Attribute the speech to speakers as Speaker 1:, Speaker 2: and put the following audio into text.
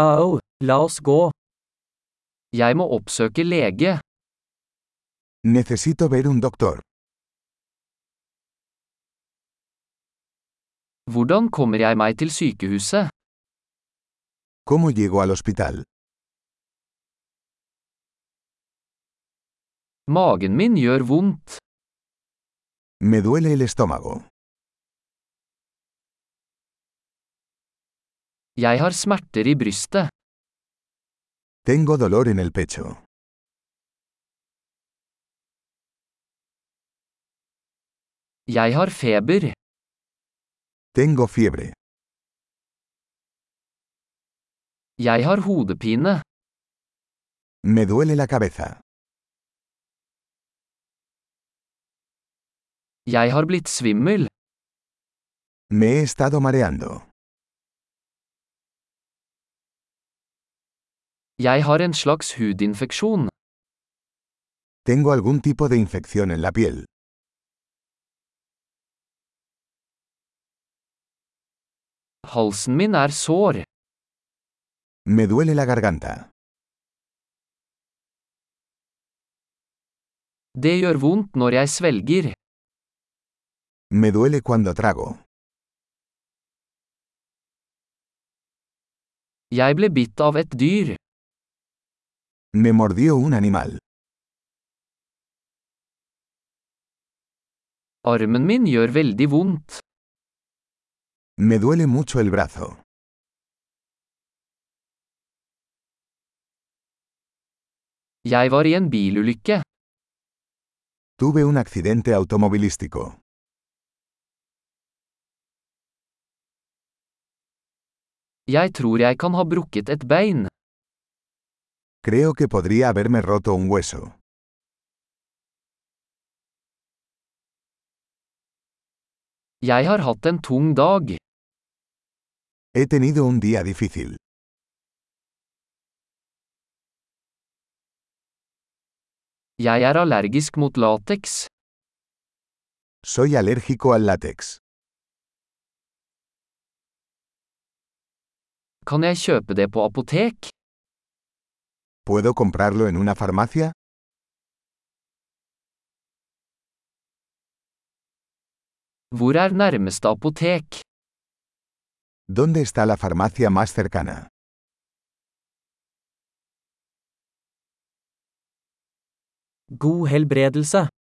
Speaker 1: Au, la oss gå. Jeg må oppsøke lege.
Speaker 2: Necesito ver un doctor.
Speaker 1: Hvordan kommer jeg meg til sykehuset?
Speaker 2: ¿Cómo llego al hospital?
Speaker 1: Magen min gjør vondt.
Speaker 2: Me duele el estómago.
Speaker 1: Jeg har smerter i brystet.
Speaker 2: Tengo dolor en el pecho.
Speaker 1: Jeg har feber.
Speaker 2: Tengo fiebre.
Speaker 1: Jeg har hodepine.
Speaker 2: Me duele la cabeza.
Speaker 1: Jeg har blitt svimmel.
Speaker 2: Me he estado mareando.
Speaker 1: Jeg har en slags hudinfeksjon.
Speaker 2: Tengo algún tipo de infección en la piel.
Speaker 1: Halsen min er sår.
Speaker 2: Me duele la garganta.
Speaker 1: Det gjør vondt når jeg svelger.
Speaker 2: Me duele cuando trago.
Speaker 1: Jeg ble bitt av et dyr.
Speaker 2: Me mordió un animal.
Speaker 1: Armen min gjør veldig vondt.
Speaker 2: Me duele mucho el brazo.
Speaker 1: Jeg var i en bilulykke.
Speaker 2: Tuve un accidente automovilístico.
Speaker 1: Jeg tror jeg kan ha brukket et bein.
Speaker 2: Creo que podría haberme roto un hueso.
Speaker 1: Jeg har hatt en tung dag.
Speaker 2: He tenido un día difícil.
Speaker 1: Jeg er allergisk mot lateks.
Speaker 2: Soy alérgico al látex.
Speaker 1: Kan jeg kjøpe det på apotek?
Speaker 2: ¿Puedo comprarlo en una farmacia?
Speaker 1: Hvor er nærmeste apotek?
Speaker 2: ¿Dónde está la farmacia más cercana?
Speaker 1: God helbredelse.